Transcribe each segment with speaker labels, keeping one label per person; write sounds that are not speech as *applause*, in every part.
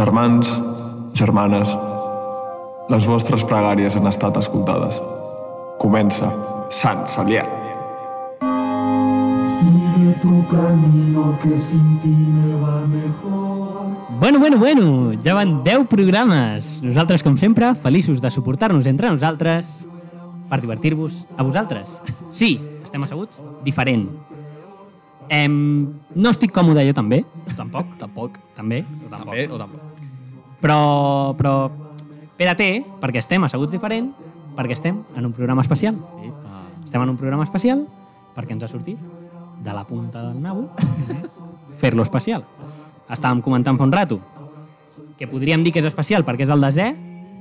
Speaker 1: Germans, germanes, les vostres pregàries han estat escoltades. Comença Sant Salià.
Speaker 2: Sigue tu camino que sin ti me va mejor.
Speaker 3: Bueno, bueno, bueno, ja van 10 programes. Nosaltres, com sempre, feliços de suportar-nos entre nosaltres per divertir-vos a vosaltres. Sí, estem asseguts, diferent. Em, no estic còmode jo també, tampoc,
Speaker 4: Tampoc.
Speaker 3: també, o tampoc.
Speaker 4: També, o tampoc.
Speaker 3: Però, però, espera-te, perquè estem asseguts diferent, perquè estem en un programa especial.
Speaker 4: Epa.
Speaker 3: Estem en un programa especial perquè ens ha sortit de la punta del nabo fer-lo especial. Estàvem comentant fa un rato que podríem dir que és especial perquè és el desè,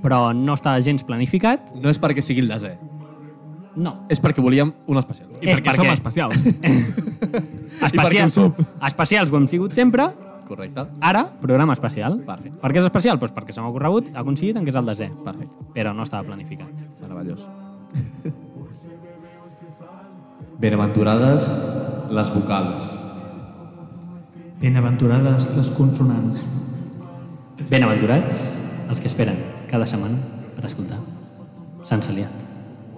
Speaker 3: però no està gens planificat.
Speaker 4: No és perquè sigui el desè,
Speaker 3: No.
Speaker 4: és perquè volíem un especial.
Speaker 3: I perquè, som
Speaker 5: especials.
Speaker 4: perquè ho
Speaker 3: especials.
Speaker 4: som.
Speaker 3: Especials ho hem sigut sempre,
Speaker 4: Correcte.
Speaker 3: ara programa especial.
Speaker 4: Perfecte.
Speaker 3: Per què és especial? Doncs perquè se m'ha ocorregut, ha coincidit en que és el desè,
Speaker 4: Perfecte.
Speaker 3: però no estava planificat.
Speaker 4: Meravellós. Benaventurades les vocals.
Speaker 5: Benaventurades les consonants.
Speaker 3: Benaventurats els que esperen cada setmana per escoltar Sant Saliat.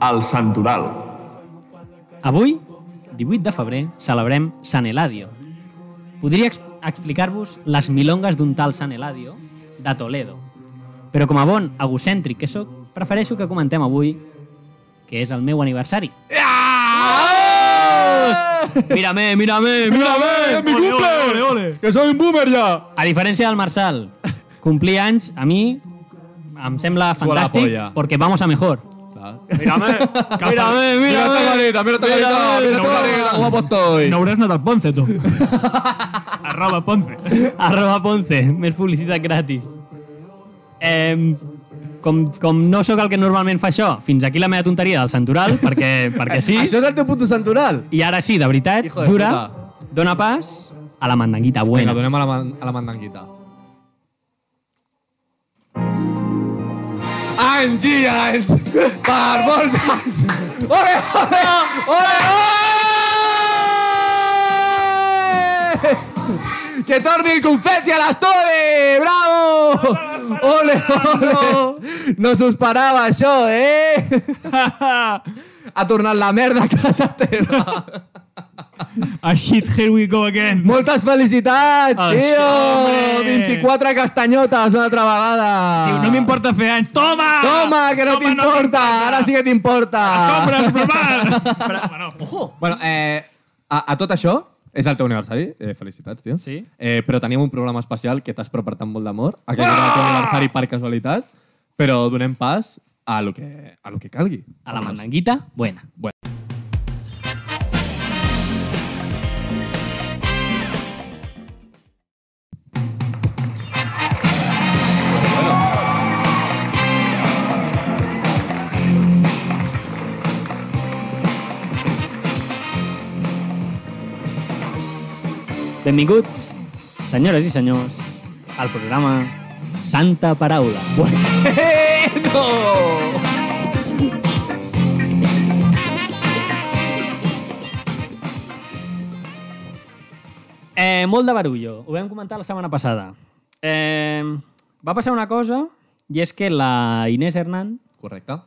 Speaker 1: El Santoral.
Speaker 3: Avui, 18 de febrer, celebrem Sant Eladio. Podria ex- explicar-vos les milongues d'un tal Sant Eladio de Toledo, però com a bon egocèntric que sóc, prefereixo que comentem avui que és el meu aniversari.
Speaker 4: Ah!
Speaker 3: Mírame, mírame, mírame!
Speaker 4: mi cumple! Ole, ole, ole. Que soy un boomer ja!
Speaker 3: A diferència del Marçal, complir anys a mi em sembla
Speaker 4: Sua la
Speaker 3: fantàstic
Speaker 4: polla.
Speaker 3: perquè vamos a mejor.
Speaker 4: Clar.
Speaker 3: *laughs*
Speaker 5: Mírame,
Speaker 3: Mírame,
Speaker 4: Mira esta carita, mira esta carita, mira esta carita, guapo estoy.
Speaker 5: No hauràs anat al Ponce, tu. *laughs* Arroba Ponce.
Speaker 3: Arroba Ponce, més publicitat gratis. Eh, com, com no sóc el que normalment fa això, fins aquí la meva tonteria del Santoral, perquè, perquè sí,
Speaker 4: *laughs* Això és el teu punto santoral.
Speaker 3: i ara sí, de veritat,
Speaker 4: Hijo de
Speaker 3: jura,
Speaker 4: puta.
Speaker 3: dona pas a la mandanguita
Speaker 4: Vinga,
Speaker 3: buena.
Speaker 4: donem a la, man- a la mandanguita. Anys i anys, per molts anys. Ole, ole, ole, ole! Que torni el confeti a les tole! Bravo! Ole, ole! No s'ho esperava, això, eh? *laughs* Ha tornat la merda a casa teva.
Speaker 5: A Ah, shit, here we go again.
Speaker 4: Moltes felicitats,
Speaker 3: Això,
Speaker 4: tio!
Speaker 3: home!
Speaker 4: 24 castanyotes una altra vegada.
Speaker 5: Diu, no m'importa fer anys. Toma!
Speaker 4: Toma, que no t'importa. Ara sí que t'importa.
Speaker 5: Compra,
Speaker 4: *laughs*
Speaker 5: superman! Però, bueno, ojo.
Speaker 4: Bueno, eh, a, a tot això, és el teu aniversari. Eh, felicitats, tio.
Speaker 3: Sí.
Speaker 4: Eh, però teníem un programa especial que t'has preparat amb molt d'amor. Aquest era el teu aniversari per casualitat. Però donem pas a lo que, a lo que calgui.
Speaker 3: A la mandanguita buena.
Speaker 4: Bueno.
Speaker 3: Benvinguts, senyores i senyors, al programa Santa Paraula.
Speaker 4: Bueno!
Speaker 3: Eh, molt de barullo, ho vam comentar la setmana passada. Eh, va passar una cosa, i és que la Inés Hernán,
Speaker 4: Correcte.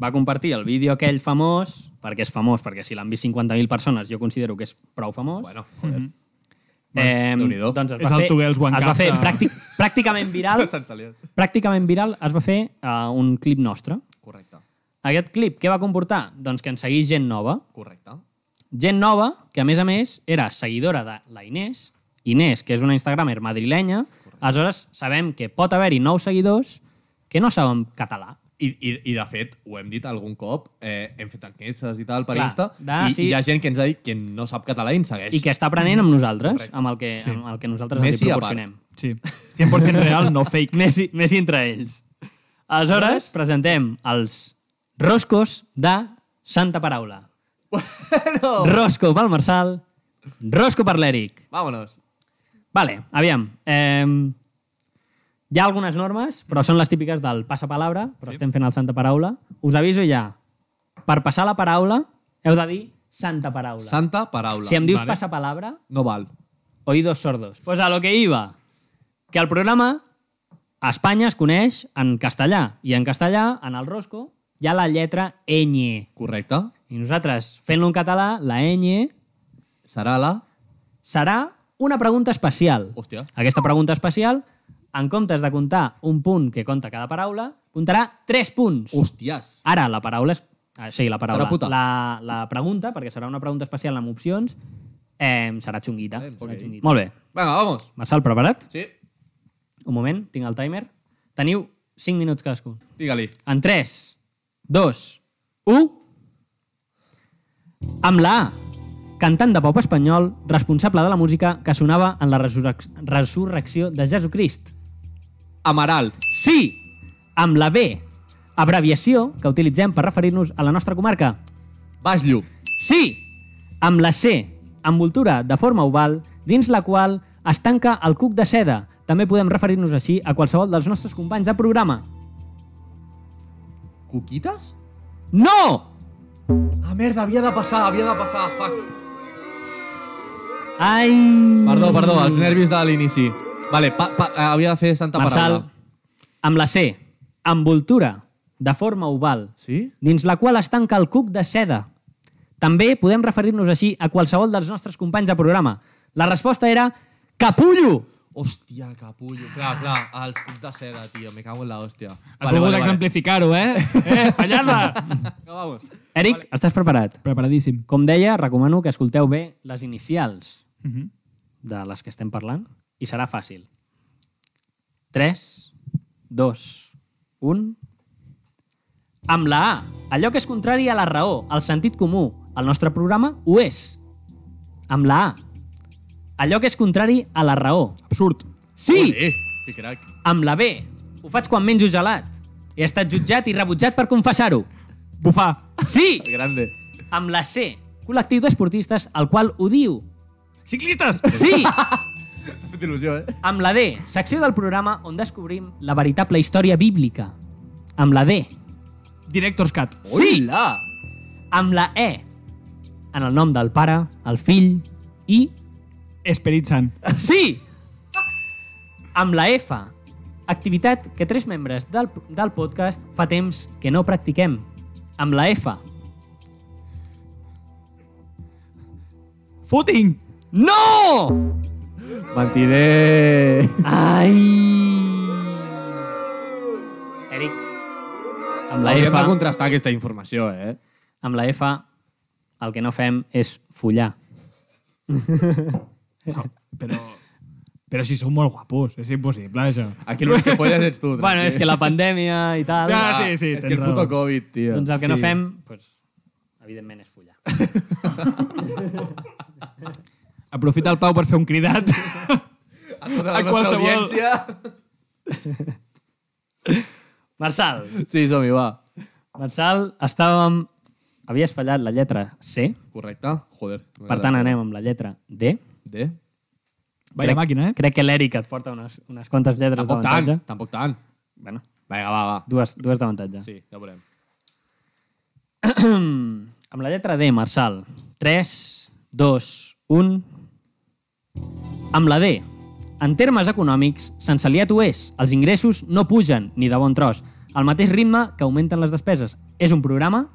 Speaker 3: va compartir el vídeo aquell famós, perquè és famós, perquè si l'han vist 50.000 persones jo considero que és prou famós.
Speaker 4: Bueno, joder. Mm
Speaker 3: eh,
Speaker 4: Déu-n'hi-do.
Speaker 3: doncs es
Speaker 5: És
Speaker 3: va
Speaker 5: el
Speaker 3: fer,
Speaker 5: Tuguels One
Speaker 3: es va
Speaker 5: Cup
Speaker 3: fer
Speaker 5: de-
Speaker 3: pràctic, pràcticament
Speaker 4: *laughs*
Speaker 3: viral, pràcticament viral es va fer uh, un clip nostre.
Speaker 4: Correcte.
Speaker 3: Aquest clip, què va comportar? Doncs que en seguís gent nova.
Speaker 4: Correcte.
Speaker 3: Gent nova que, a més a més, era seguidora de la Inés, Inés, que és una instagramer madrilenya, aleshores sabem que pot haver-hi nous seguidors que no saben català.
Speaker 4: I, i, I, de fet, ho hem dit algun cop, eh, hem fet enquestes i tal per
Speaker 3: Clar,
Speaker 4: Insta,
Speaker 3: da,
Speaker 4: i,
Speaker 3: sí.
Speaker 4: i hi ha gent que ens ha dit que no sap català i ens segueix.
Speaker 3: I que està aprenent amb nosaltres,
Speaker 4: Correcte.
Speaker 3: amb el que, amb el que nosaltres els
Speaker 4: Messi
Speaker 3: hi
Speaker 4: a part.
Speaker 3: proporcionem.
Speaker 5: Sí. 100% real, no fake.
Speaker 3: *laughs* Messi, Messi entre ells. Aleshores, presentem els roscos de Santa Paraula. Bueno. Rosco pel Marçal, rosco per l'Eric.
Speaker 4: Vámonos.
Speaker 3: Vale, aviam. Eh, hi ha algunes normes, però són les típiques del passapalabra, però sí. estem fent el Santa Paraula. Us aviso ja, per passar la paraula heu de dir Santa Paraula.
Speaker 4: Santa paraula.
Speaker 3: si em dius
Speaker 4: Vale.
Speaker 3: passapalabra,
Speaker 4: No val.
Speaker 3: oídos sordos. Pues a lo que iba, que el programa A Espanya es coneix en castellà, i en castellà, en el rosco, hi ha la lletra ñ.
Speaker 4: Correcte.
Speaker 3: I nosaltres, fent-lo en català, la ñ
Speaker 4: Serà la...
Speaker 3: serà una pregunta especial.
Speaker 4: Hòstia.
Speaker 3: Aquesta pregunta especial, en comptes de comptar un punt que conta cada paraula, comptarà tres punts.
Speaker 4: Hòsties.
Speaker 3: Ara, la paraula és... ah, Sí, la paraula.
Speaker 4: Serà puta.
Speaker 3: La, la pregunta, perquè serà una pregunta especial amb opcions, eh, serà xunguita.
Speaker 4: Eh,
Speaker 3: Serà
Speaker 4: ok.
Speaker 3: xunguita. Molt bé.
Speaker 4: Vinga, vamos.
Speaker 3: Marçal, preparat?
Speaker 4: Sí.
Speaker 3: Un moment, tinc el timer. Teniu 5 minuts cadascun.
Speaker 4: Digue-li.
Speaker 3: En 3, 2, 1... Amb la A, cantant de pop espanyol, responsable de la música que sonava en la resurrec resurrecció de Jesucrist.
Speaker 4: Amaral.
Speaker 3: Sí! Amb la B, abreviació que utilitzem per referir-nos a la nostra comarca.
Speaker 4: Baix Llum.
Speaker 3: Sí! Amb la C, envoltura de forma oval, dins la qual es tanca el cuc de seda. També podem referir-nos així a qualsevol dels nostres companys de programa.
Speaker 4: Cuquites?
Speaker 3: No!
Speaker 4: Ah, merda, havia de passar, havia de passar, fuck.
Speaker 3: Ai!
Speaker 4: Perdó, perdó, els nervis de l'inici. Vale, pa, pa, eh, havia de fer santa
Speaker 3: Marçal,
Speaker 4: paraula.
Speaker 3: amb la C, envoltura de forma oval,
Speaker 4: Sí?
Speaker 3: dins la qual es tanca el cuc de seda. També podem referir-nos així a qualsevol dels nostres companys de programa. La resposta era capullo!
Speaker 4: Hòstia, capullo. Clar, clar, els cucs de seda, tio, me cago en la hòstia.
Speaker 5: Has volgut exemplificar-ho,
Speaker 4: *laughs*
Speaker 5: eh? Eh, fallada!
Speaker 4: Vinga, vamos.
Speaker 3: Eric, vale. estàs preparat?
Speaker 5: Preparadíssim.
Speaker 3: Com deia, recomano que escolteu bé les inicials
Speaker 5: Mhm.
Speaker 3: de les que estem parlant i serà fàcil. 3, 2, 1... Amb la A, allò que és contrari a la raó, al sentit comú, al nostre programa, ho és. Amb la A, allò que és contrari a la raó.
Speaker 5: Absurd.
Speaker 3: Sí!
Speaker 4: Olé, que crac.
Speaker 3: Amb la B, ho faig quan menjo gelat. He estat jutjat i rebutjat per confessar-ho.
Speaker 5: Bufar.
Speaker 3: Sí!
Speaker 4: Grande.
Speaker 3: Amb la C, col·lectiu d'esportistes al qual odio.
Speaker 5: Ciclistes!
Speaker 4: *laughs*
Speaker 3: Sí!
Speaker 4: T'ha fet il·lusió, eh?
Speaker 3: Amb la D, secció del programa on descobrim la veritable història bíblica. Amb la D.
Speaker 5: Director's Cut.
Speaker 3: Sí!
Speaker 4: Hola!
Speaker 3: Amb la E. En el nom del pare, el fill i...
Speaker 5: Esperit Sant.
Speaker 3: Sí! Amb la F. Activitat que tres membres del, del podcast fa temps que no practiquem. Amb la F.
Speaker 5: Footing!
Speaker 3: No!
Speaker 4: Mentider!
Speaker 3: Ai! Eric. Amb la
Speaker 4: Hauríem de
Speaker 3: F.
Speaker 4: contrastar aquesta informació, eh?
Speaker 3: Amb la F. El que no fem és follar.
Speaker 5: Però... Però si sou molt guapos, és impossible, això.
Speaker 4: Aquí l'únic que folles ets tu.
Speaker 3: Bueno, és que la pandèmia i tal...
Speaker 5: Ja, sí, sí,
Speaker 4: És
Speaker 5: tens
Speaker 4: que Ah, el
Speaker 5: raó.
Speaker 4: puto Covid, tio.
Speaker 3: Doncs el que sí. no
Speaker 5: Sí.
Speaker 3: fem, pues, evidentment, és follar.
Speaker 5: Aprofita el Pau per fer un cridat.
Speaker 3: *laughs*
Speaker 4: A tota la
Speaker 5: a
Speaker 4: nostra
Speaker 5: qualsevol-
Speaker 4: audiència.
Speaker 3: Marçal,
Speaker 4: Sí, som-hi, va.
Speaker 3: Marçal, estàvem... Havies fallat la lletra C,
Speaker 4: Correcte. Joder.
Speaker 3: per tant anem amb la lletra D.
Speaker 4: D.
Speaker 5: Vaya màquina, eh?
Speaker 3: Crec que l'Eric et porta unes, unes quantes lletres
Speaker 4: Tampoc tant,
Speaker 3: d'avantatge.
Speaker 4: tampoc tant.
Speaker 3: Bueno,
Speaker 4: Vinga, va, va.
Speaker 3: dues, dues d'avantatge.
Speaker 4: Sí, ja ho veurem.
Speaker 3: *clears throat* amb la lletra D, Marçal. 3, 2, 1... Amb la D. En termes econòmics, sense aliat ho és. Els ingressos no pugen, ni de bon tros, al mateix ritme que augmenten les despeses. És un programa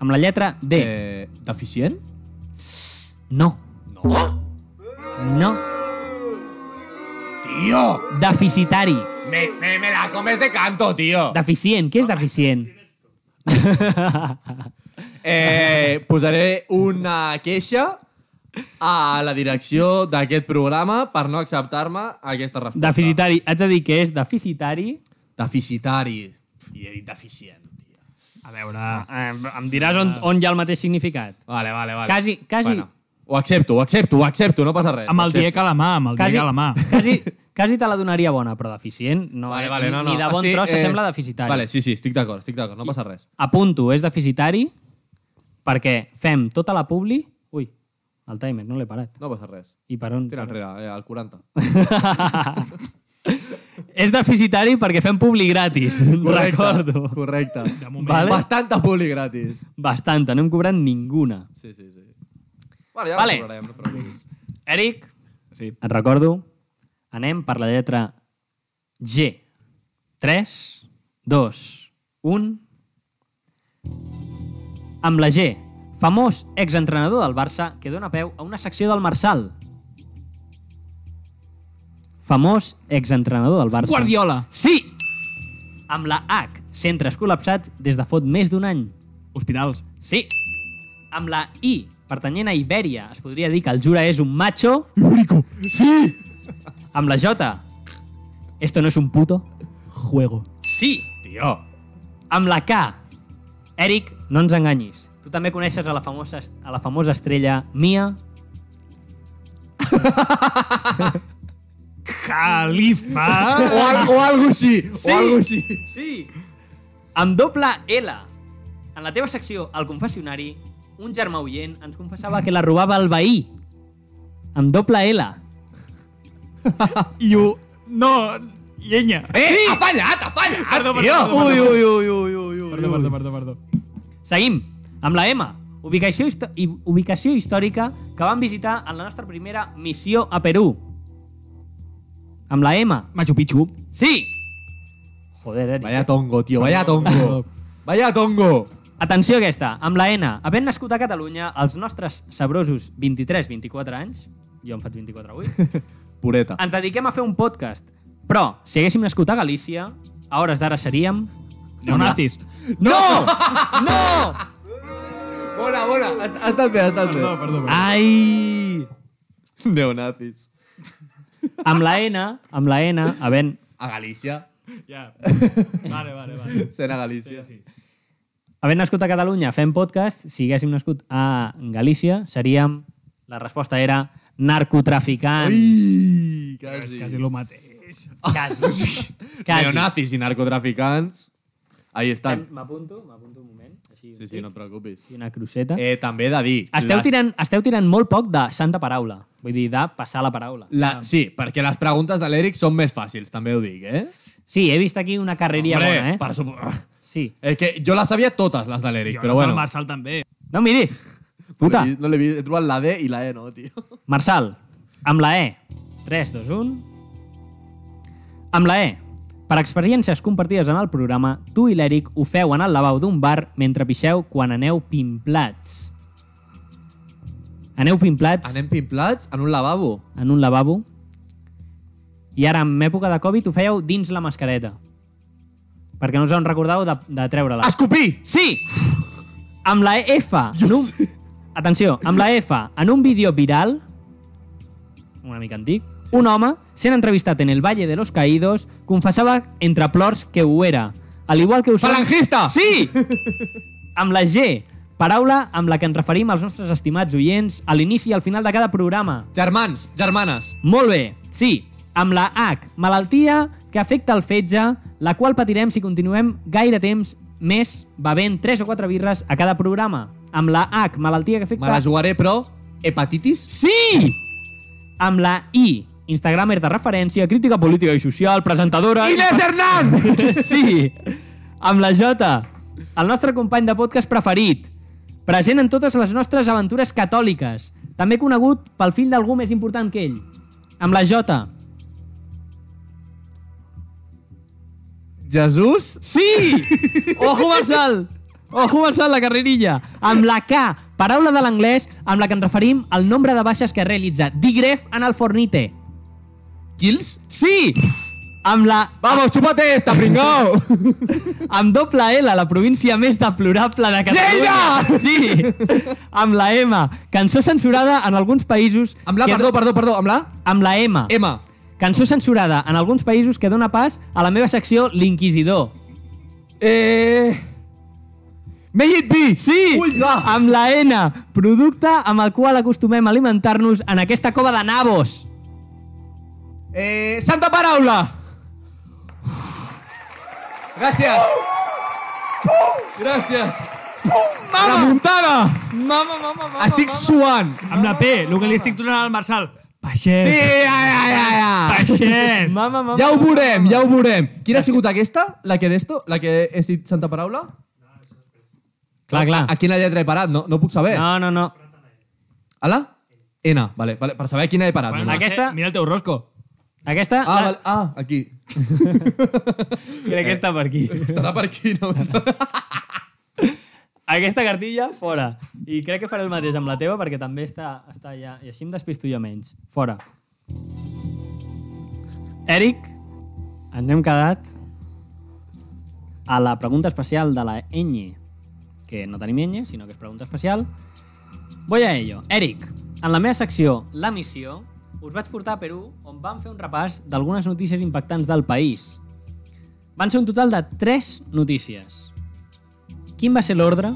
Speaker 3: amb la lletra D. Eh.
Speaker 4: Eh, deficient?
Speaker 3: No. No. No.
Speaker 4: Tio!
Speaker 3: Deficitari.
Speaker 4: Me, me, me la comes de canto, tio.
Speaker 3: Deficient. Què és deficient?
Speaker 4: Eh, posaré una queixa a la direcció d'aquest programa per no acceptar-me aquesta resposta.
Speaker 3: Deficitari. Haig de dir que és deficitari.
Speaker 4: Deficitari. I he dit deficient, tio.
Speaker 5: A veure...
Speaker 3: Eh, em diràs on, on hi ha el mateix significat.
Speaker 4: Vale, vale, vale.
Speaker 3: Quasi, quasi,
Speaker 4: Bueno, ho accepto, ho accepto, ho accepto, no passa res.
Speaker 5: Amb
Speaker 4: Ho
Speaker 5: el
Speaker 4: accepto.
Speaker 5: diec a la mà, amb el
Speaker 3: Quasi,
Speaker 5: diec a la mà.
Speaker 3: quasi, quasi te la donaria bona, però deficient. No,
Speaker 4: Vale,
Speaker 3: eh?
Speaker 4: vale, no, no.
Speaker 3: Ni de bon
Speaker 4: Estic,
Speaker 3: tros
Speaker 4: eh,
Speaker 3: sembla deficitari.
Speaker 4: Vale, sí, sí, estic d'acord, estic d'acord, no passa res.
Speaker 3: Apunto, és deficitari perquè fem tota la publi... Ui, el timer, no l'he parat.
Speaker 4: No passa res.
Speaker 3: I per on...
Speaker 4: Tira enrere, eh, al 40.
Speaker 3: *laughs* és deficitari perquè fem publi gratis, recordo.
Speaker 4: Correcte. De
Speaker 5: moment.
Speaker 3: Vale.
Speaker 4: Bastanta puli gratis.
Speaker 3: Bastanta, no hem cobrat ninguna.
Speaker 4: Sí, sí, sí. Bueno, ja
Speaker 3: Vale.
Speaker 4: vale. cobrarem, no et preocupis.
Speaker 3: Eric,
Speaker 5: Sí.
Speaker 3: et recordo, anem per la lletra G. 3, 2, 1... Amb la G, famós exentrenador del Barça que dona peu a una secció del Marçal. Famós exentrenador del Barça.
Speaker 5: Guardiola.
Speaker 3: Sí! Amb la H, centres col·lapsats des de fot més d'un any.
Speaker 5: Hospitals.
Speaker 3: Sí! Amb la I, pertanyent a Ibèria, es podria dir que el Jura és un macho.
Speaker 5: Ibérico. Sí.
Speaker 3: Amb la J, esto no es un puto.
Speaker 5: Juego.
Speaker 3: Sí! Tio! Amb la K, Eric, no ens enganyis. Tu també coneixes a la famosa, a la famosa estrella Mia.
Speaker 5: Califa.
Speaker 4: O, al, o algo així. O algo així.
Speaker 3: Sí! Amb doble L. En la teva secció, al confessionari, un germà oient ens confessava que la robava el veí. Amb doble L.
Speaker 5: I ho... No, llenya.
Speaker 4: Eh, ha fallat, ha fallat,
Speaker 5: Perdó, perdó,
Speaker 4: tio.
Speaker 5: perdó,
Speaker 4: Ui,
Speaker 5: perdó.
Speaker 4: ui, ui, ui, ui, ui.
Speaker 5: Perdó, perdó, perdó, perdó.
Speaker 3: Seguim, amb la M. Ubicació, histo- i- ubicació històrica que vam visitar en la nostra primera missió a Perú. Amb la M.
Speaker 5: Machu Picchu.
Speaker 3: Sí! Joder, Eric.
Speaker 4: Vaya tongo, tio, vaya tongo.
Speaker 5: Perdó.
Speaker 4: Vaya tongo.
Speaker 3: Atenció a aquesta, amb la N. Havent nascut a Catalunya, els nostres sabrosos 23-24 anys, jo en faig 24 avui,
Speaker 4: Pureta.
Speaker 3: ens dediquem a fer un podcast. Però, si haguéssim nascut a Galícia, a hores d'ara seríem...
Speaker 5: Neonazis.
Speaker 3: No! No!
Speaker 4: Bona, bona. Ha, ha estat bé, ha estat
Speaker 5: Perdó,
Speaker 4: bé.
Speaker 5: perdó, perdó.
Speaker 3: Ai!
Speaker 4: Neonazis.
Speaker 3: Amb la N, amb la N, havent...
Speaker 4: A Galícia.
Speaker 5: Ja. Vale, vale, vale.
Speaker 4: Sent a Galícia.
Speaker 5: Sí, sí.
Speaker 3: Havent nascut a Catalunya fent podcast, si haguéssim nascut a Galícia, seríem... La resposta era narcotraficants.
Speaker 4: Ui,
Speaker 5: És
Speaker 4: quasi.
Speaker 5: quasi el mateix.
Speaker 4: *laughs*
Speaker 3: Quasi.
Speaker 4: Neonazis i narcotraficants. Ahí estan.
Speaker 3: M'apunto, m'apunto un moment. Així,
Speaker 4: Sí, sí, no et preocupis.
Speaker 3: I una cruceta.
Speaker 4: Eh, també he de dir...
Speaker 3: Esteu,
Speaker 4: les-
Speaker 3: tirant, esteu tirant molt poc de santa paraula. Vull dir, de passar la paraula.
Speaker 4: La,
Speaker 5: Ah.
Speaker 4: sí, perquè les preguntes de l'Eric són més fàcils, també ho dic, eh?
Speaker 3: Sí, he vist aquí una carreria bona, eh?
Speaker 4: per suposar...
Speaker 3: Sí.
Speaker 4: És que jo les sabia totes, les de l'Eric,
Speaker 5: Jo
Speaker 4: però
Speaker 5: no,
Speaker 4: bueno.
Speaker 5: El Marçal també.
Speaker 3: No miris. Puta.
Speaker 4: No l'he vist, he trobat la D i la E, no, tio?
Speaker 3: Marçal, amb la E. 3, 2, 1... Amb la E. Per experiències compartides en el programa, tu i l'Eric ho feu en el lavabo d'un bar mentre pixeu quan aneu pimplats. Aneu pimplats
Speaker 4: Anem pimplats en un lavabo.
Speaker 3: en un lavabo i ara, en època de Covid, ho fèieu dins la mascareta. Perquè no us en recordàveu de, de treure-la.
Speaker 4: Escopir!
Speaker 3: Sí! Amb la F... En un... Atenció, amb la F, en un vídeo viral, una mica antic, sí. un home, sent entrevistat en el Valle de los Caídos, confessava entre plors que ho era. Al igual que ho són...
Speaker 4: Falangista!
Speaker 3: Sí! amb la G, paraula amb la que ens referim als nostres estimats oients a l'inici i al final de cada programa.
Speaker 4: Germans, germanes.
Speaker 3: Molt bé, sí. Amb la H, malaltia que afecta el fetge, la qual patirem si continuem gaire temps més bevent 3 o 4 birres a cada programa. Amb la H, malaltia que afecta...
Speaker 4: Me la jugaré, però... Hepatitis?
Speaker 3: Sí! Amb la I, Instagramer de referència, crítica política i social, presentadora... *laughs*
Speaker 4: Hernán!
Speaker 3: Sí! Amb la J, el nostre company de podcast preferit, present en totes les nostres aventures catòliques, també conegut pel fill d'algú més important que ell. Amb la J,
Speaker 4: Jesús?
Speaker 3: Sí! Ojo Marçal! Ojo Marçal, la carrerilla. Amb la K, paraula de l'anglès amb la que ens referim al nombre de baixes que realitza Digref en el Fornite.
Speaker 4: Kills?
Speaker 3: Sí! Amb la...
Speaker 4: Vamos, chúpate esta, pringao!
Speaker 3: *laughs* Amb doble L, la província més deplorable de Catalunya.
Speaker 4: Lleida!
Speaker 3: Sí! Amb la M, cançó censurada en alguns països...
Speaker 4: amb la,
Speaker 3: que-
Speaker 4: perdó, perdó, perdó, amb la
Speaker 3: Amb la M.
Speaker 4: M.
Speaker 3: Cançó censurada en alguns països que dona pas a la meva secció L'Inquisidor.
Speaker 4: Eh... May it be!
Speaker 3: Sí!
Speaker 4: Ui, va!
Speaker 3: Amb la N, producte amb el qual acostumem a alimentar-nos en aquesta cova de nabos.
Speaker 4: Eh... Santa paraula! Gràcies! Gràcies! Mama! Remuntada!
Speaker 3: Mama, mama, mama.
Speaker 4: Estic suant!
Speaker 5: Amb la P, el que li estic donant al Marçal. Peixet.
Speaker 4: Sí, ai, ai, ai, ai!
Speaker 5: Peixet.
Speaker 3: Mama, mama.
Speaker 4: Ja ho veurem, ja ho veurem. Quina ha sigut aquesta? La que d'esto? La que he dit Santa Paraula?
Speaker 3: Clar, clar.
Speaker 4: A quina lletra he parat? Ah. No, no puc saber.
Speaker 3: No, no, no.
Speaker 4: A la N, vale, vale, per saber quina he parat.
Speaker 5: Bueno,
Speaker 4: només.
Speaker 5: no sé,
Speaker 3: Aquesta-
Speaker 5: Mira el teu rosco.
Speaker 3: Aquesta,
Speaker 4: Ah,
Speaker 3: la-
Speaker 4: val, ah, aquí. *laughs*
Speaker 3: crec
Speaker 4: Eh.
Speaker 3: que està per aquí.
Speaker 4: Estarà per aquí, no?
Speaker 3: Aquesta cartilla, fora. I crec que faré el mateix amb la teva perquè també està, està allà. I així em despisto jo menys. Fora. Eric, ens hem quedat a la pregunta especial de la ñ, que no tenim ñ, sinó que és pregunta especial. Voy a ello. Eric, en la meva secció La Missió, us vaig portar a Perú on vam fer un repàs d'algunes notícies impactants del país. Van ser un total de 3 notícies. Quin va ser l'ordre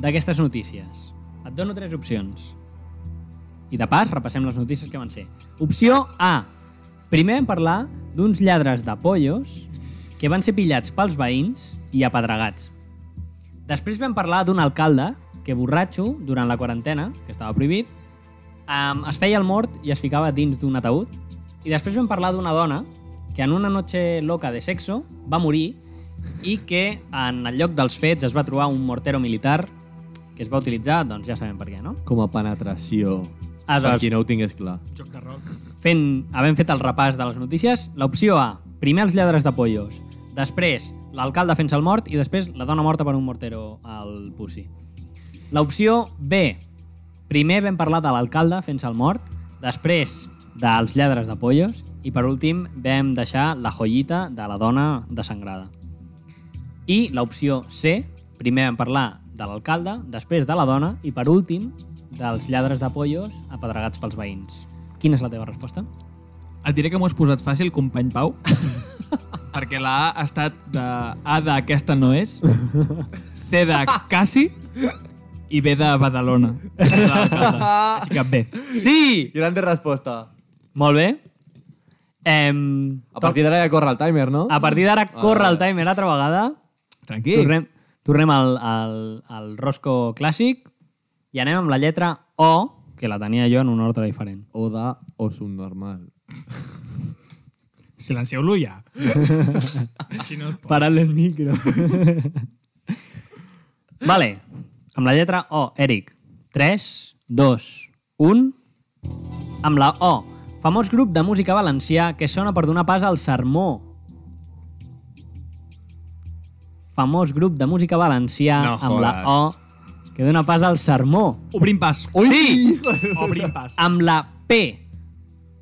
Speaker 3: d'aquestes notícies? Et dono tres opcions. I de pas, repassem les notícies que van ser. Opció A. Primer vam parlar d'uns lladres de pollos que van ser pillats pels veïns i apedregats. Després vam parlar d'un alcalde que borratxo, durant la quarantena, que estava prohibit, um, es feia el mort i es ficava dins d'un ataúd. I després vam parlar d'una dona que en una noche loca de sexo va morir i que en el lloc dels fets es va trobar un mortero militar que es va utilitzar, doncs ja sabem per què, no?
Speaker 4: Com a penetració.
Speaker 3: Aleshores-
Speaker 4: Per qui no ho tingués clar.
Speaker 5: Joc de rock.
Speaker 3: Fent, havent fet el repàs de les notícies, l'opció A, primer els lladres de pollos, després l'alcalde fent-se el mort i després la dona morta per un mortero al pussy. L'opció B, primer vam parlar de l'alcalde fent-se el mort, després dels lladres de pollos i per últim vam deixar la joyita de la dona desangrada. I l'opció C, primer vam parlar de l'alcalde, després de la dona i per últim dels lladres de pollos apedregats pels veïns. Quina és la teva resposta?
Speaker 5: Et diré que m'ho has posat fàcil, company Pau. *laughs* perquè la A ha estat de A d'aquesta no és, C de quasi i B de Badalona. de l'alcalde. Així que bé.
Speaker 4: Sí! Grande resposta.
Speaker 3: Molt bé. Em,
Speaker 4: A partir d'ara ja corre el timer, no? Ah,
Speaker 3: a partir d'ara corre el timer altra vegada.
Speaker 5: Tranquil.
Speaker 3: Tornem, tornem al, al, al Rosco clàssic i anem amb la lletra O, que la tenia jo en un ordre diferent.
Speaker 4: O de o subnormal.
Speaker 5: Silencieu-lo ja. Així no es pot.
Speaker 3: Parant el micro. *laughs* vale. Amb la lletra O, Eric. 3, 2, 1... Amb la O. Famós grup de música valencià que sona per donar pas al sermó. Famós grup de música valencià
Speaker 5: No
Speaker 3: amb la
Speaker 5: jodas.
Speaker 3: O que dona pas al sermó.
Speaker 5: Obrim pas.
Speaker 4: Ui!
Speaker 5: Obrim pas.
Speaker 3: Amb la P.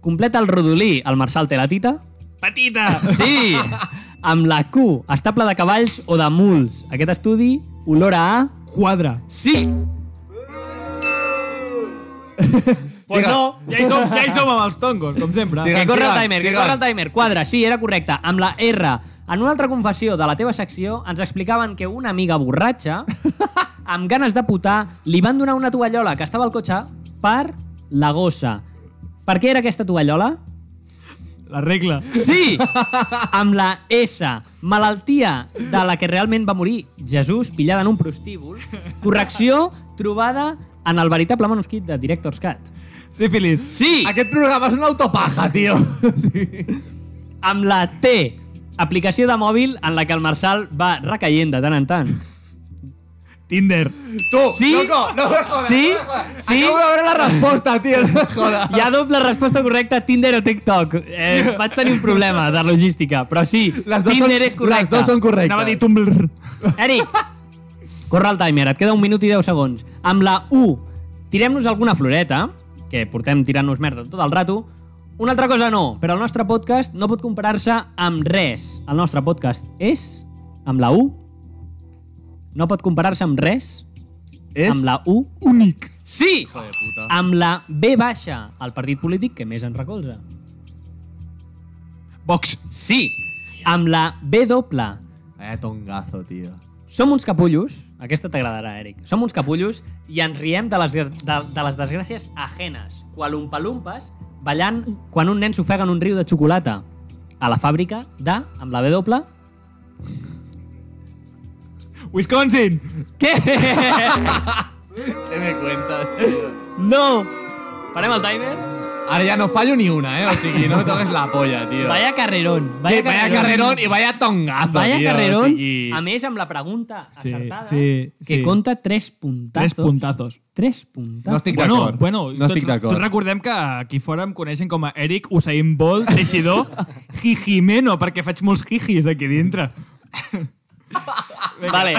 Speaker 3: Completa el rodolí, el Marçal té la tita.
Speaker 5: Petita!
Speaker 3: Sí! Amb la Q, estable de cavalls o de muls. Aquest estudi, olor a A.
Speaker 5: Quadre.
Speaker 3: Sí!
Speaker 5: Pues
Speaker 4: Siga.
Speaker 5: no, ja hi, som, ja hi som amb els tongos, com sempre.
Speaker 4: Siga.
Speaker 3: Que corre el timer, que
Speaker 4: sigan.
Speaker 3: corre el timer. Quadre, sí, era correcte. Amb la R. En una altra confessió de la teva secció ens explicaven que una amiga borratxa, amb ganes de putar, li van donar una tovallola que estava al cotxe per la gossa. Per què era aquesta tovallola?
Speaker 5: La regla.
Speaker 3: Sí! Amb la S, malaltia de la que realment va morir Jesús, pillada en un prostíbul. Correcció trobada en el veritable manuscrit de Director's Cut.
Speaker 5: Sí, Feliç.
Speaker 3: Sí!
Speaker 4: Aquest programa és una autopaja, Ah, tio. Sí.
Speaker 3: Amb la T, aplicació de mòbil en la que el Marçal va recaient de tant en tant.
Speaker 5: Tinder.
Speaker 4: Tu,
Speaker 3: Sí?
Speaker 4: loco, no me jodas.
Speaker 3: Sí?
Speaker 4: no me jodas.
Speaker 3: Sí?
Speaker 4: Acabo de veure la resposta, tio, no me jodas.
Speaker 3: Hi ha doble resposta correcta, Tinder o TikTok. Eh, vaig tenir un problema de logística, però sí,
Speaker 4: Les dos
Speaker 3: Tinder
Speaker 4: són-
Speaker 3: és correcte.
Speaker 4: les dos són correctes.
Speaker 5: Anava a dir Tumblr.
Speaker 3: Eric, corre el timer, et queda un minut i 10 segons. Amb la U, tirem-nos alguna floreta, que portem tirant-nos merda tot el rato. Una altra cosa no, però el nostre podcast no pot comparar-se amb res. El nostre podcast és, amb la U, no pot comparar-se amb res,
Speaker 4: És
Speaker 3: amb la U,
Speaker 5: Únic.
Speaker 3: sí,
Speaker 4: Joder, puta.
Speaker 3: amb la B baixa, el partit polític que més ens recolza.
Speaker 5: Vox.
Speaker 3: Sí, amb la B doble, Eh,
Speaker 4: Vaya tongazo, tio.
Speaker 3: Som uns capullos, aquesta t'agradarà, Eric. Som uns capullos i ens riem de les, de, de les desgràcies ajenes, qual umpalumpes, ballant quan un nen s'ofega en un riu de xocolata. A la fàbrica de, amb la B doble...
Speaker 5: Wisconsin.
Speaker 3: Què?
Speaker 4: ¿Qué me cuentas, tío?
Speaker 3: No! Parem el timer.
Speaker 4: Ara ja no fallo ni una, eh? O sigui, no me toques la polla, tio.
Speaker 3: Vaya carrerón.
Speaker 4: vaya, sí, vaya carrerón i vaya tongazo,
Speaker 3: Vaya
Speaker 4: tio.
Speaker 3: carrerón.
Speaker 4: O sigui...
Speaker 3: A més, amb la pregunta
Speaker 5: Sí,
Speaker 3: acertada,
Speaker 5: sí,
Speaker 3: que
Speaker 5: sí.
Speaker 3: conta tres puntazos.
Speaker 5: Tres puntazos.
Speaker 3: Tres puntazos.
Speaker 4: No estic
Speaker 5: Bueno,
Speaker 4: d'acord.
Speaker 5: bueno,
Speaker 4: no estic
Speaker 5: tots- tots
Speaker 4: d'acord.
Speaker 5: recordem que aquí fora em coneixen com a Eric Usain Bolt, teixidor, Jijimeno, perquè faig molts jijis aquí dintre. *laughs*
Speaker 4: *laughs*
Speaker 3: Vale.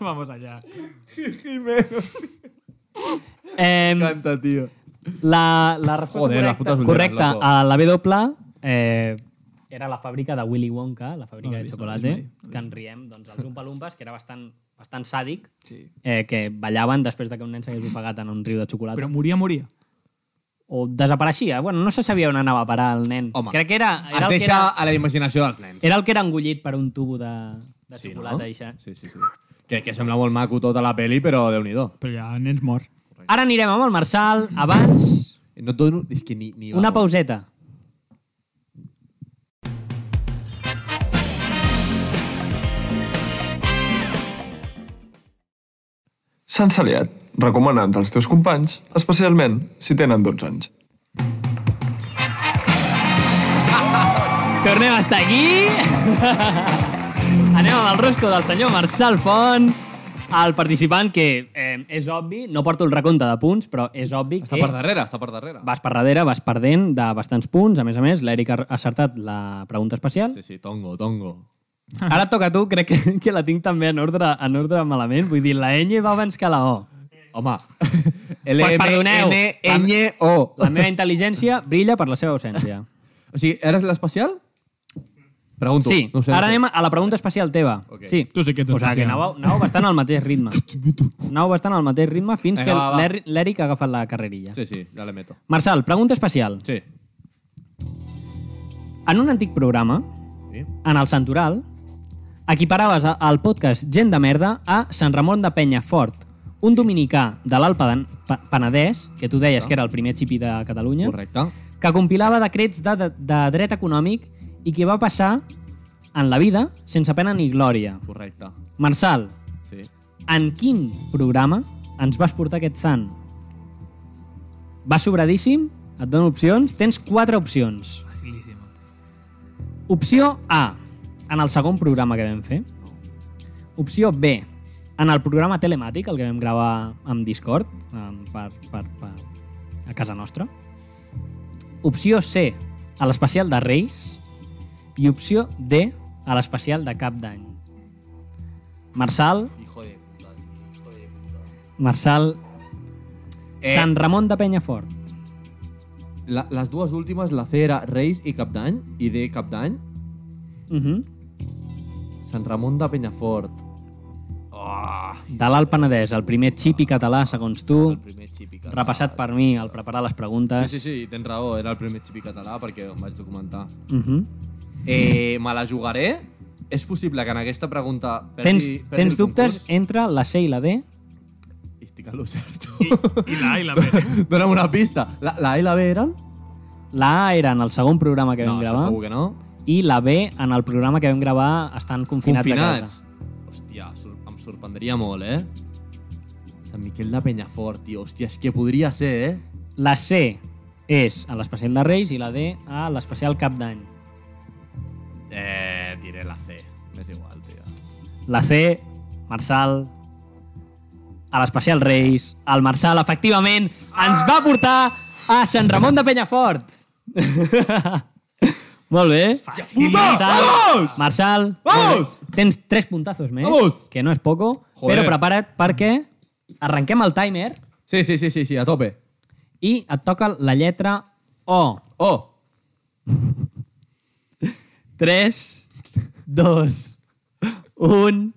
Speaker 5: Vamos allá.
Speaker 3: Em,
Speaker 4: Canta, tio.
Speaker 3: la, la resposta
Speaker 4: Joder, les
Speaker 3: correcta,
Speaker 4: putes ulleres,
Speaker 3: correcta
Speaker 4: loco.
Speaker 3: a la B doble eh, era la fàbrica de Willy Wonka, la fàbrica
Speaker 5: No l'he
Speaker 3: de
Speaker 5: vist,
Speaker 3: xocolate,
Speaker 5: no l'he vist
Speaker 3: que en riem, doncs, els Umpalumpes, que era bastant, bastant sàdic,
Speaker 5: Sí.
Speaker 3: eh, que ballaven després de que un nen s'hagués ofegat en un riu de xocolata.
Speaker 5: Però moria, moria.
Speaker 3: O desapareixia. Bueno, no se sabia on anava a parar el nen.
Speaker 4: Home,
Speaker 3: Crec que era,
Speaker 4: Es
Speaker 3: era, el que
Speaker 4: deixa
Speaker 3: era,
Speaker 4: a la imaginació dels nens.
Speaker 3: era el que era engullit per un tubo de, de
Speaker 4: Sí,
Speaker 3: xocolata.
Speaker 4: no?
Speaker 3: i això.
Speaker 4: Sí, sí, sí. Que, que sembla molt maco tota la peli, però déu nhi
Speaker 5: Però ja, nens morts.
Speaker 3: Ara anirem amb el Marçal. Abans,
Speaker 4: No et dono... És que ni... ni
Speaker 3: una pauseta.
Speaker 1: Sant Saliat, recomana'ns als teus companys, especialment si tenen 12 anys.
Speaker 3: Tornem a estar aquí. *laughs* Anem amb el rosco del senyor Marçal Font, el participant que eh, és obvi, no porto el recompte de punts, però és obvi
Speaker 4: Està
Speaker 3: que
Speaker 4: per darrere, està per darrere.
Speaker 3: vas per darrere, vas perdent de bastants punts. A més a més, l'Eric ha acertat la pregunta especial.
Speaker 4: Sí, sí, tongo, tongo.
Speaker 3: *laughs* Ara et toca a tu, crec que, que la tinc també en ordre, en ordre malament. Vull dir, la ñ va abans que la O.
Speaker 4: Home,
Speaker 3: *laughs* Pues perdoneu.
Speaker 4: L-M-N-O.
Speaker 3: La meva intel·ligència brilla per la seva ausència.
Speaker 4: O sigui, eres l'especial? Pregunto.
Speaker 3: Sí,
Speaker 4: no ho sé,
Speaker 3: ara
Speaker 4: no ho sé.
Speaker 3: anem a la pregunta especial teva.
Speaker 4: Ok.
Speaker 3: Sí.
Speaker 5: Tu sí que ets
Speaker 3: o sigui, que
Speaker 5: especial.
Speaker 3: anàveu, anàveu bastant al mateix
Speaker 4: *laughs*
Speaker 3: ritme. Anàveu bastant al mateix ritme fins
Speaker 4: Vinga,
Speaker 3: que
Speaker 4: va, va.
Speaker 3: l'Eri- l'Eric ha agafat la carrerilla.
Speaker 4: Sí, sí, ja le meto.
Speaker 3: Marçal, pregunta especial.
Speaker 4: Sí.
Speaker 3: En un antic programa,
Speaker 4: Sí.
Speaker 3: en el Santoral, equiparaves a- el podcast Gent de Merda a Sant Ramon de Penya Fort, un dominicà de l'Alt Padan- Pa- Penedès, que tu deies que era el primer xipi de Catalunya,
Speaker 4: Correcte.
Speaker 3: que compilava decrets de, de, de dret econòmic i que va passar en la vida sense pena ni glòria.
Speaker 4: Correcte.
Speaker 3: Marçal,
Speaker 4: Sí.
Speaker 3: en quin programa ens vas portar aquest sant? Va sobradíssim? Et dono opcions? Tens quatre opcions.
Speaker 5: Facilíssim.
Speaker 3: Opció A, en el segon programa que vam fer. Opció B, en el programa telemàtic, el que vam gravar amb Discord, amb- per, per, per, a casa nostra. Opció C, a l'especial de Reis. I opció D, a l'especial de Cap d'Any. Marçal,
Speaker 4: Hijo de...
Speaker 3: Marçal,
Speaker 4: Eh.
Speaker 3: eh. Sant Ramon de Penyafort.
Speaker 4: La, les dues últimes, la C era Reis i Cap d'Any, i D Cap d'Any,
Speaker 3: Uh -huh.
Speaker 4: Mhm. Sant Ramon de Penyafort.
Speaker 3: De l'Alt Penedès, el primer xipi català, segons tu,
Speaker 4: El primer xipi català.
Speaker 3: repassat per mi al preparar les preguntes.
Speaker 4: Sí, sí, sí, tens raó, era el primer xipi català perquè em vaig documentar.
Speaker 3: Uh -huh.
Speaker 4: Eh, me la jugaré? És possible que en aquesta pregunta... Perdi,
Speaker 3: Tens,
Speaker 4: perdi
Speaker 3: tens
Speaker 4: el
Speaker 3: dubtes
Speaker 4: concurs?
Speaker 3: entre la C i la D?
Speaker 4: Estic a lo certo. *laughs*
Speaker 5: I la, i la *laughs* B.
Speaker 4: Dóna'm una pista. La, la A i la B eren?
Speaker 3: La A era en el segon programa que
Speaker 4: no,
Speaker 3: vam
Speaker 4: això
Speaker 3: gravar
Speaker 4: segur que no.
Speaker 3: i la B en el programa que vam gravar estan confinats,
Speaker 4: Confinats.
Speaker 3: a casa.
Speaker 4: Hòstia, sor em sorprendria molt, eh? Sant Miquel de Penyafort, tio. Hòstia, és que podria ser, eh?
Speaker 3: La C és a l'especial de Reis i la D a l'especial Cap d'Any.
Speaker 4: Eh, diré la C. M'és igual, tio.
Speaker 3: La C, Marçal, a l'especial Reis, el Marçal, efectivament, ens va portar a Sant Ramon de Penyafort. *laughs* Molt bé. Marçal, Marçal
Speaker 4: Vamos!
Speaker 3: tens tres puntazos més,
Speaker 4: Vamos!
Speaker 3: que no és poco,
Speaker 4: Joder.
Speaker 3: però prepara't perquè arrenquem el timer
Speaker 4: Sí, sí, sí, sí, sí a tope.
Speaker 3: i et toca la lletra O.
Speaker 4: Oh,
Speaker 3: 3, 2, 1...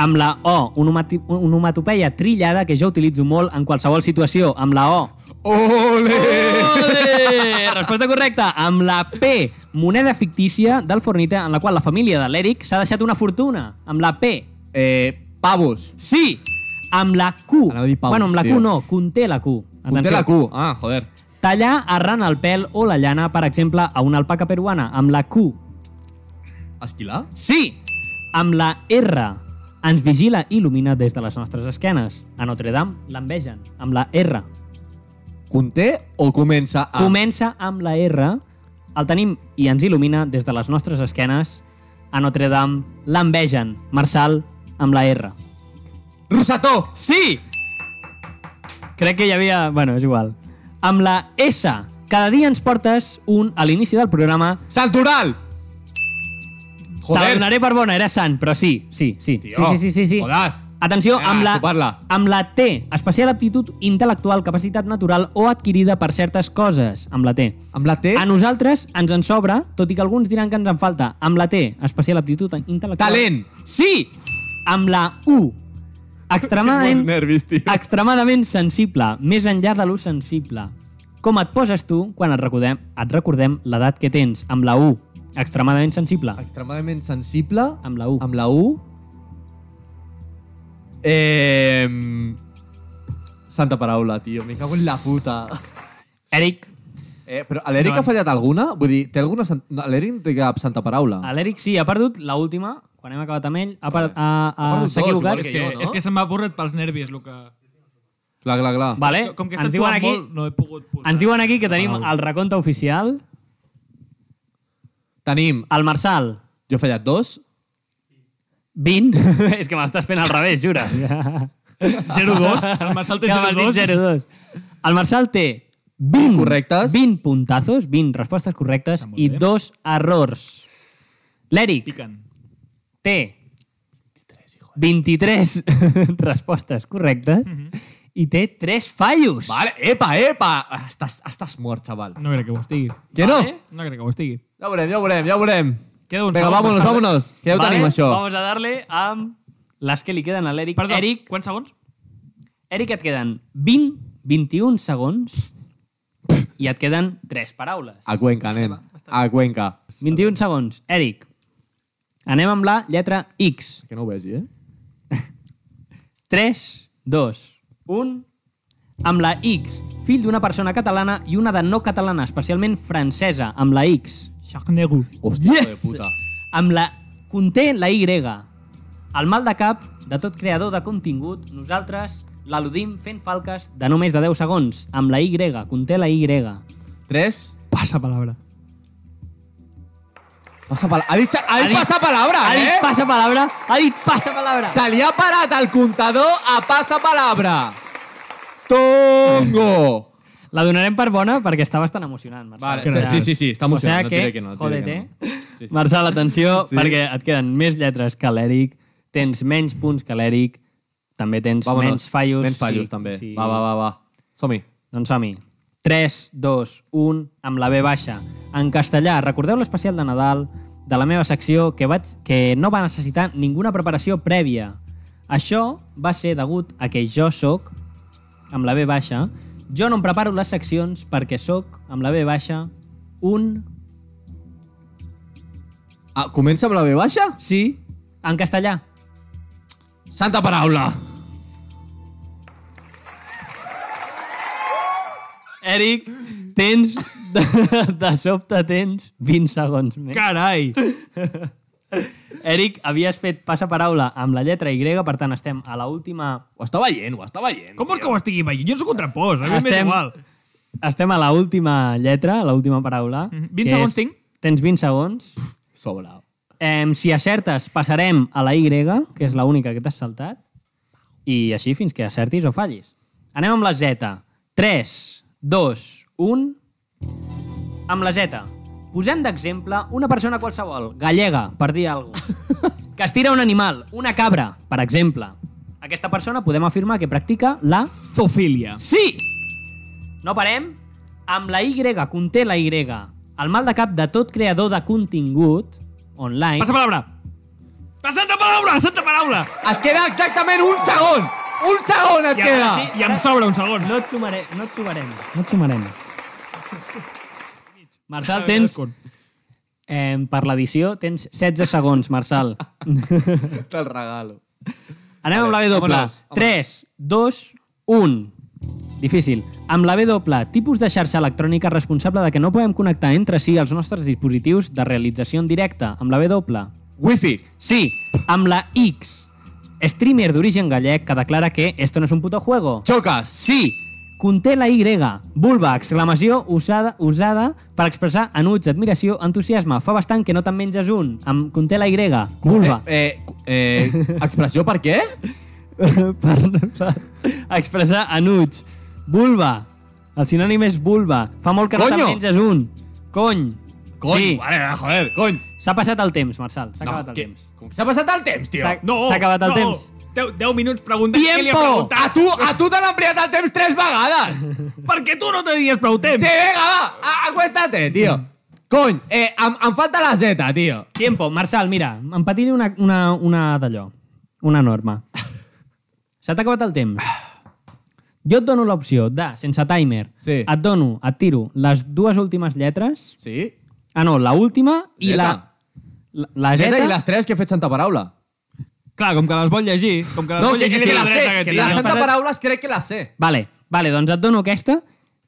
Speaker 3: Amb la O, onomati- onomatopeia trillada que jo utilitzo molt en qualsevol situació. Amb la O.
Speaker 4: Ole!
Speaker 3: Ole! *laughs* Resposta correcta. Amb la P, moneda fictícia del Fornita en la qual la família de l'Eric s'ha deixat una fortuna. Amb la P.
Speaker 4: Eh, pavos.
Speaker 3: Sí! Amb la Q.
Speaker 4: Anava a dir paus,
Speaker 3: bueno, amb la
Speaker 4: tio.
Speaker 3: Q no, conté la Q.
Speaker 4: Conté la Q. Ah, joder.
Speaker 3: Tallar arran el pèl o la llana, per exemple, a una alpaca peruana. Amb la Q.
Speaker 4: Esquilar?
Speaker 3: Sí! Amb la R. Ens Ah. vigila i il·lumina des de les nostres esquenes. A Notre Dame l'envegen. Amb la R.
Speaker 4: conté o comença a...
Speaker 3: Comença amb la R, el tenim i ens il·lumina des de les nostres esquenes a Notre Dame, l'envegen, Marçal, amb la R.
Speaker 4: Rossató!
Speaker 3: Sí! Crec que hi havia... Bueno, és igual. Amb la S, cada dia ens portes un a l'inici del programa.
Speaker 4: Santoral!
Speaker 3: Te la
Speaker 4: Joder!
Speaker 3: donaré per bona, era Sant, però sí, sí, sí. sí, sí, sí, sí, sí.
Speaker 4: Jodas!
Speaker 3: Atenció,
Speaker 4: Ah,
Speaker 3: amb, la,
Speaker 4: sopar-la.
Speaker 3: amb la T, especial aptitud intel·lectual, capacitat natural o adquirida per certes coses, amb la T.
Speaker 4: Amb la T...
Speaker 3: A nosaltres ens en sobra, tot i que alguns diran que ens en falta, amb la T, especial aptitud intel·lectual.
Speaker 4: Talent.
Speaker 3: Sí! Amb la U, extremadament,
Speaker 6: nervis, tio.
Speaker 3: extremadament sensible, més enllà de l'ús sensible. Com et poses tu quan et recordem, et recordem l'edat que tens, amb la U, extremadament sensible.
Speaker 4: *laughs* Extremadament sensible...
Speaker 3: Amb la U.
Speaker 4: Amb la U... Eh... Santa paraula, tio. Me cago en la puta.
Speaker 3: Eric,
Speaker 4: Eh, però a l'Eric ha fallat alguna? Vull dir, té alguna... Sant... No, L'Eric no té cap santa paraula.
Speaker 3: l'Eric sí, ha perdut la última, quan hem acabat amb ell, ha, per, ha, ha,
Speaker 4: perdut
Speaker 3: s'ha
Speaker 4: dos,
Speaker 3: equivocat.
Speaker 4: igual
Speaker 5: És que,
Speaker 4: jo, no?
Speaker 5: és que se m'ha borrat pels nervis, el que...
Speaker 4: Clar, clar, clar.
Speaker 3: Vale,
Speaker 5: Com que
Speaker 3: ens
Speaker 5: estàs
Speaker 3: diuen
Speaker 5: jugant
Speaker 3: aquí,
Speaker 5: molt, no he pogut posar.
Speaker 3: ens diuen aquí que tenim el recompte oficial,
Speaker 4: Tenim...
Speaker 3: el Marçal,
Speaker 4: Jo he fallat dos.
Speaker 3: 20. *laughs* és que m'estàs fent al revés,
Speaker 5: *laughs*
Speaker 3: jura. *laughs*
Speaker 5: 0-2. El Marçal té
Speaker 3: Que m'has dit
Speaker 5: 0-2.
Speaker 3: 0-2. El Marçal té 20,
Speaker 4: Correctes.
Speaker 3: 20 puntazos, 20 respostes correctes i dos errors. L'Eric
Speaker 5: Piquen.
Speaker 3: té 23 *laughs* respostes correctes
Speaker 5: Mhm.
Speaker 3: i té 3 fallos.
Speaker 4: Vale, epa, epa! Estàs, estàs mort, xaval.
Speaker 5: No crec que ho estigui.
Speaker 4: Que no?
Speaker 5: No crec que ho estigui.
Speaker 4: Ja ho veurem, ja ho veurem, ja ho veurem.
Speaker 5: Queda un
Speaker 4: Vinga,
Speaker 5: segon,
Speaker 4: vámonos,
Speaker 5: Marçal.
Speaker 4: vámonos. Que ja ho
Speaker 3: Vale,
Speaker 4: tenim, això.
Speaker 3: Vamos a darle amb les que li queden a l'Eric.
Speaker 5: Perdó,
Speaker 3: Eric,
Speaker 5: quants segons?
Speaker 3: Eric, et queden 20, 21 segons i et queden 3 paraules.
Speaker 4: A Cuenca, nen. A Cuenca.
Speaker 3: 21 segons. Eric, anem amb la lletra X.
Speaker 4: Que no ho vegi, eh?
Speaker 3: 3, 2, 1... Amb la X, fill d'una persona catalana i una de no catalana, especialment francesa, amb la X.
Speaker 5: Xarnego.
Speaker 4: Hòstia, yes! de puta.
Speaker 3: Amb la... Conté la Y. El mal de cap de tot creador de contingut, nosaltres l'aludim fent falques de no més de 10 segons, amb la Y, conté la Y.
Speaker 4: Tres.
Speaker 5: Passa palabra.
Speaker 4: Passa pala... Ha dit, ha
Speaker 3: Ha
Speaker 4: dit
Speaker 3: dit-
Speaker 4: passa palabra,
Speaker 3: Ha dit
Speaker 4: eh?
Speaker 3: passa palabra, ha dit passa palabra.
Speaker 4: Se li ha parat el comptador a passa palabra. Tongo.
Speaker 3: La donarem per bona perquè està bastant emocionant, Marçal.
Speaker 4: Vale, espera, sí, sí, sí, està emocionant,
Speaker 3: O
Speaker 4: no
Speaker 3: sigui que,
Speaker 4: diré que no, diré
Speaker 3: jodet,
Speaker 4: que no.
Speaker 3: eh? Sí, sí. Marçal, atenció,
Speaker 4: Sí.
Speaker 3: sí. perquè et queden més lletres que l'Eric, tens menys punts que l'Eric, també tens
Speaker 4: Vámonos.
Speaker 3: menys fallos.
Speaker 4: Menys fallos,
Speaker 3: sí,
Speaker 4: també.
Speaker 3: sí.
Speaker 4: Va, va, va, va. Som-hi.
Speaker 3: Doncs som-hi. 3, 2, 1, amb la B baixa. En castellà, recordeu l'especial de Nadal de la meva secció que, vaig, que no va necessitar ninguna preparació prèvia. Això va ser degut a que jo sóc, amb la B baixa, jo no em preparo les seccions perquè sóc, amb la B baixa, un...
Speaker 4: Ah, comença amb la B baixa?
Speaker 3: Sí. En castellà.
Speaker 4: Santa paraula.
Speaker 3: Eric, tens... *laughs* De, de sobte tens 20 segons més.
Speaker 5: Carai!
Speaker 3: Eric, havies fet passa paraula amb la lletra Y, per tant estem a la última
Speaker 4: Ho està veient, ho està veient.
Speaker 5: Com vols que ho estigui veient? Jo no sóc un trampós, a mi m'és
Speaker 3: Estem-
Speaker 5: igual.
Speaker 3: estem a la última lletra, a la última paraula.
Speaker 5: Mhm. 20
Speaker 3: que
Speaker 5: segons tinc.
Speaker 3: Tens 20 segons.
Speaker 4: Sobra.
Speaker 3: Em, si acertes, passarem a la Y, que és l'única que t'has saltat, i així fins que acertis o fallis. Anem amb la Z. 3, 2, 1... Amb la Z. Posem d'exemple una persona qualsevol, gallega, per dir alguna cosa, que estira un animal, una cabra, per exemple. Aquesta persona podem afirmar que practica la...
Speaker 5: Zofília.
Speaker 3: Sí! No parem. Amb la Y, conté la Y. El mal de cap de tot creador de contingut online...
Speaker 5: Passa palabra. La santa paraula, la santa paraula.
Speaker 4: Et queda exactament un segon. Un segon et
Speaker 5: I,
Speaker 4: queda.
Speaker 5: ara sí, I em sobra un segon.
Speaker 3: No et sumaré, no et sumarem. No et sumarem. Marçal, tens... Eh, per l'edició tens 16 segons, Marçal.
Speaker 4: Te'l regalo.
Speaker 3: Anem amb la
Speaker 4: Vale,
Speaker 3: B doble.
Speaker 4: vámonos, vámonos.
Speaker 3: 3, 2, 1. Difícil. Amb la B doble, tipus de xarxa electrònica responsable de que no podem connectar entre si els nostres dispositius de realització en directe. Amb la B doble.
Speaker 4: Wifi.
Speaker 3: Sí, amb la X. Streamer d'origen gallec que declara que esto no es un puto juego.
Speaker 4: Xoques.
Speaker 3: Sí, Conté la Y, vulva, exclamació usada, usada per expressar enuig, admiració, entusiasme. Fa bastant que no te'n menges un. Em conté la Y, vulva.
Speaker 4: Eh, eh, eh, expressió per *laughs* què? eh.
Speaker 3: *laughs* per, per expressar enuig. Vulva. El sinònim és vulva. Fa molt que no te'n
Speaker 4: Coño.
Speaker 3: menges un. Cony.
Speaker 4: Cony,
Speaker 3: Sí.
Speaker 4: vale, joder, cony.
Speaker 3: S'ha passat el temps, Marçal. S'ha acabat el
Speaker 4: què?
Speaker 3: temps.
Speaker 4: Com que S'ha passat el temps, tio.
Speaker 3: S'ha s'ha acabat el temps.
Speaker 5: 10, 10 minuts preguntant què li ha
Speaker 4: *laughs* Tiempo!
Speaker 5: preguntat.
Speaker 4: A tu, a tu te l'han ampliat el temps tres *laughs* vegades.
Speaker 5: Perquè tu no tenies prou temps.
Speaker 4: Sí, vinga, va, a- acuéstate, tio. Cony, eh, em, em falta la Z, tio.
Speaker 3: Tiempo, Marçal, mira, em patiré una, una, una d'allò, una norma. S'ha acabat el temps. Jo et dono l'opció de, sense timer,
Speaker 4: Sí.
Speaker 3: et dono, et tiro les dues últimes lletres,
Speaker 4: Sí?
Speaker 3: ah no, la última i la...
Speaker 4: Zeta.
Speaker 3: La, la
Speaker 4: Z
Speaker 3: Z,
Speaker 4: i les tres que he fet santa paraula.
Speaker 5: Clar, com que les vol llegir, com que les
Speaker 4: No,
Speaker 5: vol
Speaker 4: que,
Speaker 5: llegir...
Speaker 4: és que la
Speaker 5: sí,
Speaker 4: sé.
Speaker 5: dreta
Speaker 4: Que
Speaker 5: tinc.
Speaker 4: la
Speaker 3: tira.
Speaker 4: santa paraula crec que la sé.
Speaker 3: Vale, vale, doncs et dono aquesta,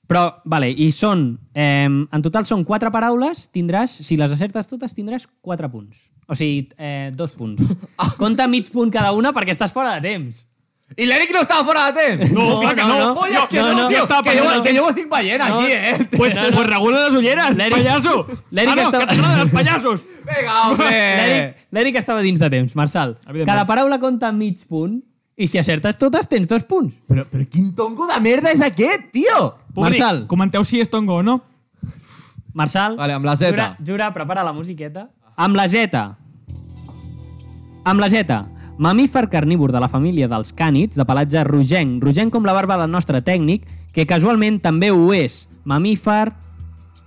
Speaker 3: però, vale, i són... Eh, en total són quatre paraules, tindràs, si les acertes totes, tindràs quatre punts. O sigui, eh, dos punts.
Speaker 4: *laughs*
Speaker 3: Compta mig punt cada una perquè estàs fora de temps.
Speaker 4: I l'Eric no estava fora de temps.
Speaker 5: No, clar que no.
Speaker 3: no, no.
Speaker 4: Oi, és que no,
Speaker 3: no,
Speaker 4: tio,
Speaker 5: estava
Speaker 4: que, jo,
Speaker 5: pensant en-
Speaker 4: que jo ho estic veient
Speaker 3: No.
Speaker 4: aquí, eh?
Speaker 5: *laughs* Pues,
Speaker 3: No, no.
Speaker 5: pues regula les ulleres,
Speaker 3: L'Eric-
Speaker 5: pallasso.
Speaker 3: l'Eric
Speaker 5: ah, no,
Speaker 3: està-
Speaker 5: que t'agraden els pallassos.
Speaker 4: Vinga, home.
Speaker 3: L'Eric- L'Eric estava dins de temps, Marçal.
Speaker 5: Evidentment.
Speaker 3: Cada paraula compta mig punt i si acertes totes tens dos punts.
Speaker 4: Però, però quin tongo de merda és aquest, tio?
Speaker 5: Públic,
Speaker 4: Marçal.
Speaker 5: comenteu si és tongo o no.
Speaker 3: Marçal,
Speaker 4: Vale, amb la Z.
Speaker 3: Jura, jura, prepara la musiqueta. Amb la Z. Amb la Z. Mamífer carnívor de la família dels cànids, de pelatge rogenc. Rogenc com la barba del nostre tècnic, que casualment també ho és. Mamífer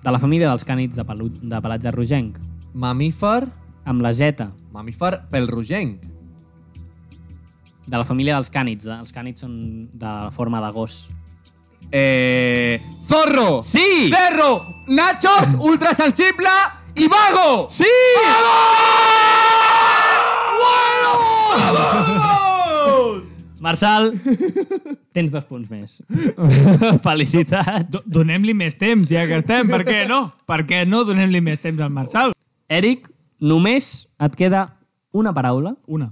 Speaker 3: de la família dels cànids de, pelu, de pelatge rogenc.
Speaker 4: Mamífer.
Speaker 3: Amb la Z.
Speaker 4: Mamífer pel rogenc.
Speaker 3: De la família dels cànids. de- Els cànids són de forma de gos.
Speaker 4: Eh... Zorro.
Speaker 3: Sí!
Speaker 4: Cerro. *laughs* Nachos. Ultrasensible. I vago.
Speaker 3: Sí!
Speaker 4: *laughs*
Speaker 3: Marçal, tens dos punts més. *laughs* Felicitats.
Speaker 5: Do- Donem-li més temps, ja que estem. Per què no? Per què no donem-li més temps al Marçal?
Speaker 3: Eric, només et queda una paraula.
Speaker 5: Una.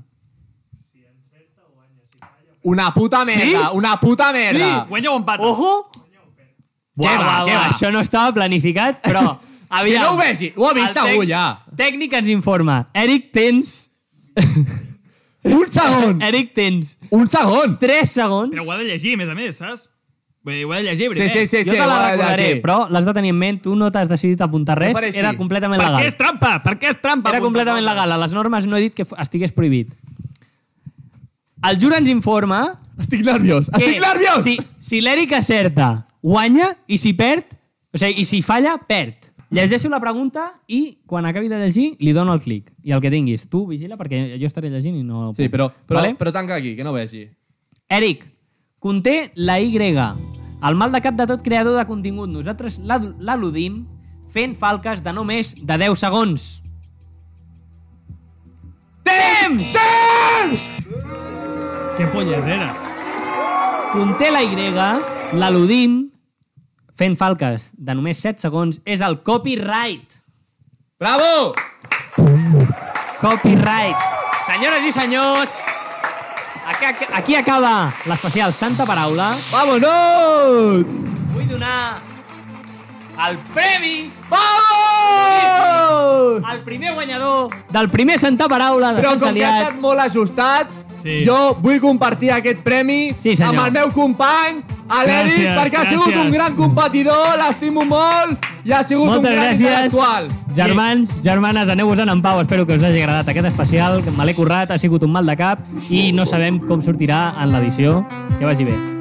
Speaker 4: Una puta merda. Una puta merda.
Speaker 5: Guanya o empata. Ojo!
Speaker 4: Què va, què va?
Speaker 3: Això no estava planificat, però... Aviam,
Speaker 4: *laughs* Que no ho vegi, ho ha vist
Speaker 3: El
Speaker 4: segur, ja.
Speaker 3: Tècnic ens informa. Eric, tens...
Speaker 4: Un segon.
Speaker 3: Eric, tens
Speaker 4: Un segon.
Speaker 3: 3 segons.
Speaker 5: Però ho ha de llegir, a més a més, saps? Vull dir, ho ha de llegir,
Speaker 4: Sí,
Speaker 5: primer.
Speaker 4: sí, sí.
Speaker 3: jo
Speaker 4: sí,
Speaker 3: te la
Speaker 4: guarda,
Speaker 3: recordaré,
Speaker 4: sí.
Speaker 3: però l'has de tenir en ment. Tu no t'has decidit a apuntar res.
Speaker 4: No faré així.
Speaker 3: Era completament
Speaker 5: Per
Speaker 3: legal.
Speaker 5: què és trampa? Per què és trampa?
Speaker 3: Era
Speaker 5: Punta,
Speaker 3: completament
Speaker 5: punta.
Speaker 3: legal. A les normes no he dit que fo- estigués prohibit. El jura ens informa...
Speaker 4: Estic nerviós.
Speaker 3: que
Speaker 4: Estic nerviós.
Speaker 3: Si, si l'Eric acerta, guanya, i si perd... O sigui, i si falla, perd. Llegeixo la pregunta i, quan acabi de llegir, li dono el clic. I el que tinguis. Tu vigila, perquè jo estaré llegint i no...
Speaker 4: Sí, però, però,
Speaker 3: Vale?
Speaker 4: però tanca aquí, que no vegi.
Speaker 3: Eric, conté la Y, el mal de cap de tot creador de contingut. Nosaltres l'al- l'aludim fent falques de no més de 10 segons. Temps!
Speaker 5: Què polles era?
Speaker 3: Conté la Y, l'aludim fent falques de només 7 segons. És el copyright.
Speaker 4: Bravo!
Speaker 3: Copyright. Senyores i senyors, aquí, aquí acaba l'especial Santa Paraula.
Speaker 4: Vámonos!
Speaker 3: Vull donar el premi
Speaker 4: Vamos!
Speaker 3: al primer guanyador del primer Santa Paraula de
Speaker 4: Però
Speaker 3: Sant
Speaker 4: com que ha
Speaker 3: Saliat.
Speaker 4: estat molt ajustat,
Speaker 5: Sí.
Speaker 4: jo vull compartir aquest premi
Speaker 3: Sí, senyor.
Speaker 4: amb el meu company, a l'Eric,
Speaker 5: Gràcies,
Speaker 4: perquè ha
Speaker 5: gràcies.
Speaker 4: sigut un gran competidor, l'estimo molt i ha sigut un
Speaker 3: Moltes
Speaker 4: gran
Speaker 3: gràcies.
Speaker 4: intel·lectual.
Speaker 3: Germans, germanes, aneu-vos-en en pau. Espero que us hagi agradat aquest especial, que me l'he currat, ha sigut un mal de cap i no sabem com sortirà en l'edició. Que vagi bé.